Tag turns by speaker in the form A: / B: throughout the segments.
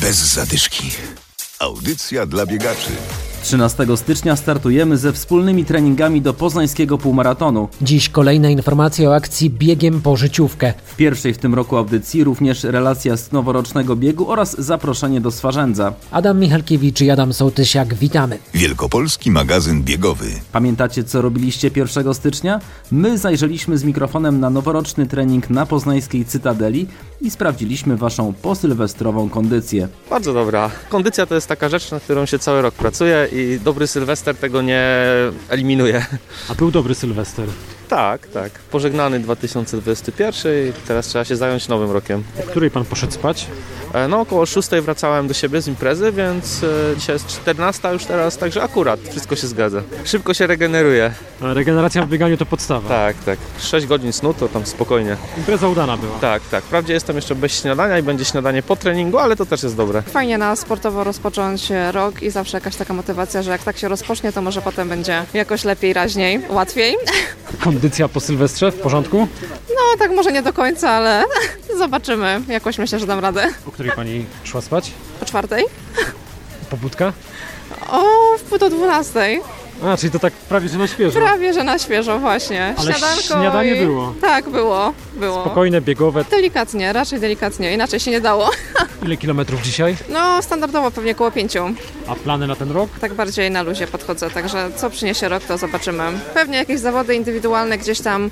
A: bez zadyszki. Audycja dla biegaczy.
B: 13 stycznia startujemy ze wspólnymi treningami do poznańskiego półmaratonu.
C: Dziś kolejne informacje o akcji Biegiem po życiówkę.
B: W pierwszej w tym roku audycji również relacja z noworocznego biegu oraz zaproszenie do Swarzędza.
C: Adam Michalkiewicz i Adam Sołtysiak, witamy.
A: Wielkopolski magazyn biegowy.
B: Pamiętacie co robiliście 1 stycznia? My zajrzeliśmy z mikrofonem na noworoczny trening na poznańskiej Cytadeli i sprawdziliśmy waszą posylwestrową kondycję.
D: Bardzo dobra. Kondycja to jest taka rzecz, na którą się cały rok pracuje i dobry Sylwester tego nie eliminuje.
E: A był dobry Sylwester.
D: Tak, tak. Pożegnany 2021 i teraz trzeba się zająć nowym rokiem.
E: O której pan poszedł spać?
D: E, No około 6 wracałem do siebie z imprezy, więc e, dzisiaj jest 14 już teraz, także akurat wszystko się zgadza. Szybko się regeneruje.
E: Ale Regeneracja w bieganiu to podstawa.
D: Tak, tak. 6 godzin snu to tam spokojnie.
E: Impreza udana była.
D: Tak, tak. Wprawdzie jestem jeszcze bez śniadania i będzie śniadanie po treningu, ale to też jest dobre.
F: Fajnie na sportowo rozpocząć rok i zawsze jakaś taka motywacja, że jak tak się rozpocznie, to może potem będzie jakoś lepiej, raźniej, łatwiej.
E: Kondycja po Sylwestrze w porządku?
F: No tak może nie do końca, ale zobaczymy. Jakoś myślę, że dam radę.
E: O której pani szła spać?
F: Po czwartej?
E: Pobudka?
F: O, w pół do dwunastej.
E: A, czyli to tak prawie że na świeżo.
F: Prawie, że na świeżo właśnie.
E: Ale śniadanie było.
F: Tak, było, było.
E: Spokojne, biegowe.
F: Delikatnie, raczej delikatnie, inaczej się nie dało.
E: Ile kilometrów dzisiaj?
F: No, standardowo pewnie koło pięciu.
E: A plany na ten rok?
F: Tak bardziej na luzie podchodzę, także co przyniesie rok, to zobaczymy. Pewnie jakieś zawody indywidualne gdzieś tam,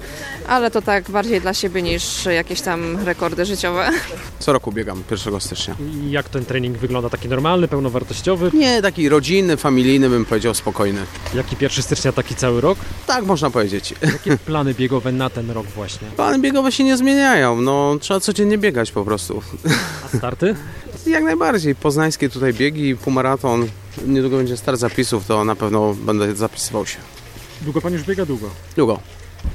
F: ale to tak bardziej dla siebie niż jakieś tam rekordy życiowe.
G: Co roku biegam 1 stycznia.
E: I jak ten trening wygląda? Taki normalny, pełnowartościowy?
G: Nie, taki rodzinny, familijny bym powiedział spokojny.
E: Jaki 1 stycznia, taki cały rok?
G: Tak można powiedzieć.
E: Jakie plany biegowe na ten rok właśnie?
G: Plany biegowe się nie zmieniają, no trzeba codziennie biegać po prostu.
E: A starty?
G: Jak najbardziej, poznańskie tutaj biegi, półmaraton. Niedługo będzie start zapisów, to na pewno będę zapisywał się.
E: Długo pan już biega? Długo.
G: Długo,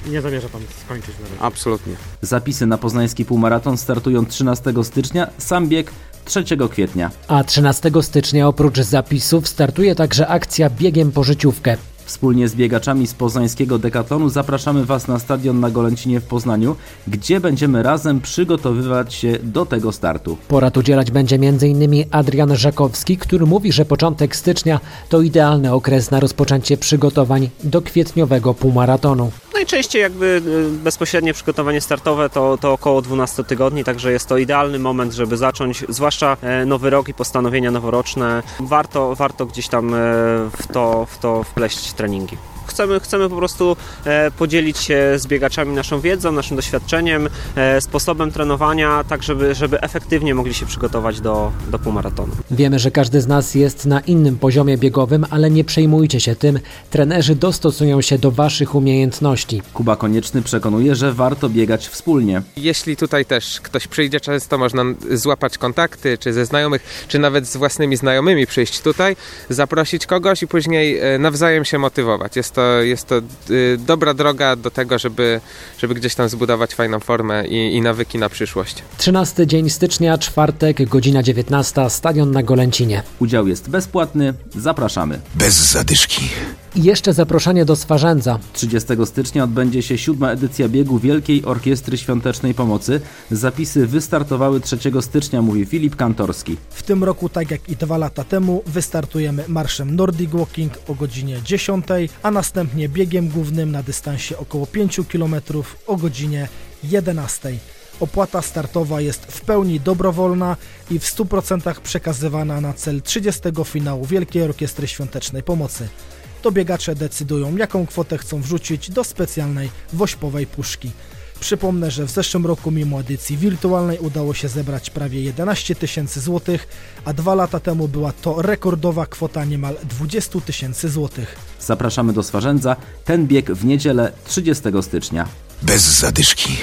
E: I nie zamierza pan skończyć na razie.
G: absolutnie.
B: Zapisy na poznański półmaraton startują 13 stycznia, sam bieg 3 kwietnia.
C: A 13 stycznia oprócz zapisów startuje także akcja Biegiem po życiówkę.
B: Wspólnie z biegaczami z poznańskiego Dekatlonu zapraszamy Was na stadion na Golęcinie w Poznaniu, gdzie będziemy razem przygotowywać się do tego startu.
C: Porad udzielać będzie m.in. Adrian Żakowski, który mówi, że początek stycznia to idealny okres na rozpoczęcie przygotowań do kwietniowego półmaratonu.
H: Najczęściej jakby y, bezpośrednie przygotowanie startowe to, to około 12 tygodni, także jest to idealny moment, żeby zacząć, zwłaszcza e, nowy rok i postanowienia noworoczne. Warto, warto gdzieś tam e, w to, w to wpleść treningi. Chcemy, chcemy po prostu e, podzielić się z biegaczami naszą wiedzą, naszym doświadczeniem, e, sposobem trenowania, tak żeby, żeby efektywnie mogli się przygotować do, do półmaratonu.
C: Wiemy, że każdy z nas jest na innym poziomie biegowym, ale nie przejmujcie się tym. Trenerzy dostosują się do Waszych umiejętności.
B: Kuba Konieczny przekonuje, że warto biegać wspólnie.
I: Jeśli tutaj też ktoś przyjdzie, często można złapać kontakty, czy ze znajomych, czy nawet z własnymi znajomymi przyjść tutaj, zaprosić kogoś i później e, nawzajem się motywować. Jest to, jest to e, dobra droga do tego, żeby, żeby gdzieś tam zbudować fajną formę i, i nawyki na przyszłość.
C: 13 dzień stycznia, czwartek, godzina 19, stadion na Golęcinie.
B: Udział jest bezpłatny, zapraszamy.
A: Bez zadyszki.
C: I jeszcze zaproszenie do Swarzędza.
B: 30 stycznia odbędzie się siódma edycja biegu Wielkiej Orkiestry Świątecznej Pomocy. Zapisy wystartowały 3 stycznia, mówi Filip Kantorski.
J: W tym roku, tak jak i dwa lata temu, wystartujemy marszem Nordic Walking o godzinie 10, a następnie biegiem głównym na dystansie około 5 km o godzinie 11. Opłata startowa jest w pełni dobrowolna i w 100% przekazywana na cel 30 finału Wielkiej Orkiestry Świątecznej Pomocy. To biegacze decydują, jaką kwotę chcą wrzucić do specjalnej wośpowej puszki. Przypomnę, że w zeszłym roku mimo edycji wirtualnej udało się zebrać prawie 11 tysięcy złotych, a dwa lata temu była to rekordowa kwota niemal 20 tysięcy złotych.
B: Zapraszamy do Swarzędza, ten bieg w niedzielę 30 stycznia.
A: Bez zadyszki.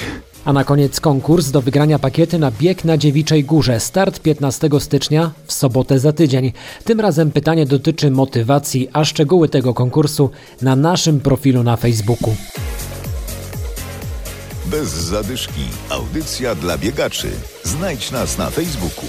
C: A na koniec konkurs do wygrania pakiety na bieg na Dziewiczej Górze. Start 15 stycznia, w sobotę za tydzień. Tym razem pytanie dotyczy motywacji, a szczegóły tego konkursu na naszym profilu na Facebooku.
A: Bez zadyszki. Audycja dla biegaczy. Znajdź nas na Facebooku.